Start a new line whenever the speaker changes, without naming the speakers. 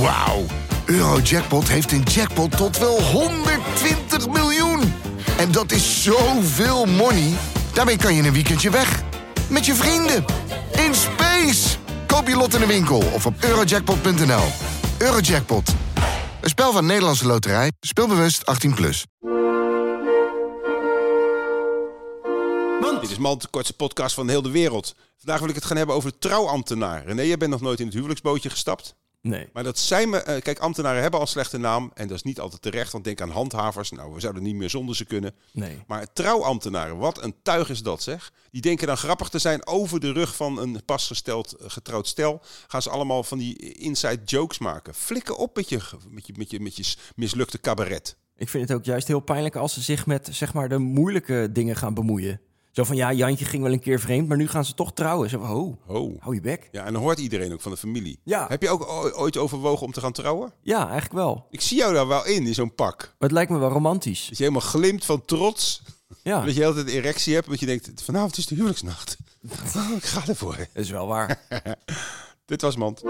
Wauw. Eurojackpot heeft een jackpot tot wel 120 miljoen. En dat is zoveel money. Daarmee kan je in een weekendje weg. Met je vrienden. In space. Koop je lot in de winkel of op eurojackpot.nl. Eurojackpot. Een spel van Nederlandse Loterij. Speelbewust 18+. Plus.
Dit is Mand, de kortste podcast van heel de wereld. Vandaag wil ik het gaan hebben over de trouwambtenaar. René, jij bent nog nooit in het huwelijksbootje gestapt.
Nee.
Maar dat zijn we. eh, kijk, ambtenaren hebben al een slechte naam. En dat is niet altijd terecht. Want denk aan handhavers. Nou, we zouden niet meer zonder ze kunnen.
Nee.
Maar trouwambtenaren, wat een tuig is dat zeg. Die denken dan grappig te zijn over de rug van een pasgesteld eh, getrouwd stel. Gaan ze allemaal van die inside jokes maken. Flikken op met je, met je, met je, met je mislukte cabaret.
Ik vind het ook juist heel pijnlijk als ze zich met zeg maar, de moeilijke dingen gaan bemoeien. Zo van, ja, Jantje ging wel een keer vreemd, maar nu gaan ze toch trouwen. Zo van, ho,
Oh.
hou je bek.
Ja, en dan hoort iedereen ook van de familie.
Ja.
Heb je ook o- ooit overwogen om te gaan trouwen?
Ja, eigenlijk wel. Maar
Ik zie jou daar wel in, in zo'n pak.
het lijkt me wel romantisch.
Dat je helemaal glimt van trots.
Ja,
Dat je altijd een erectie hebt. Dat je denkt, vanavond is de huwelijksnacht. ik ga ervoor.
dat is wel waar.
Dit was Mand.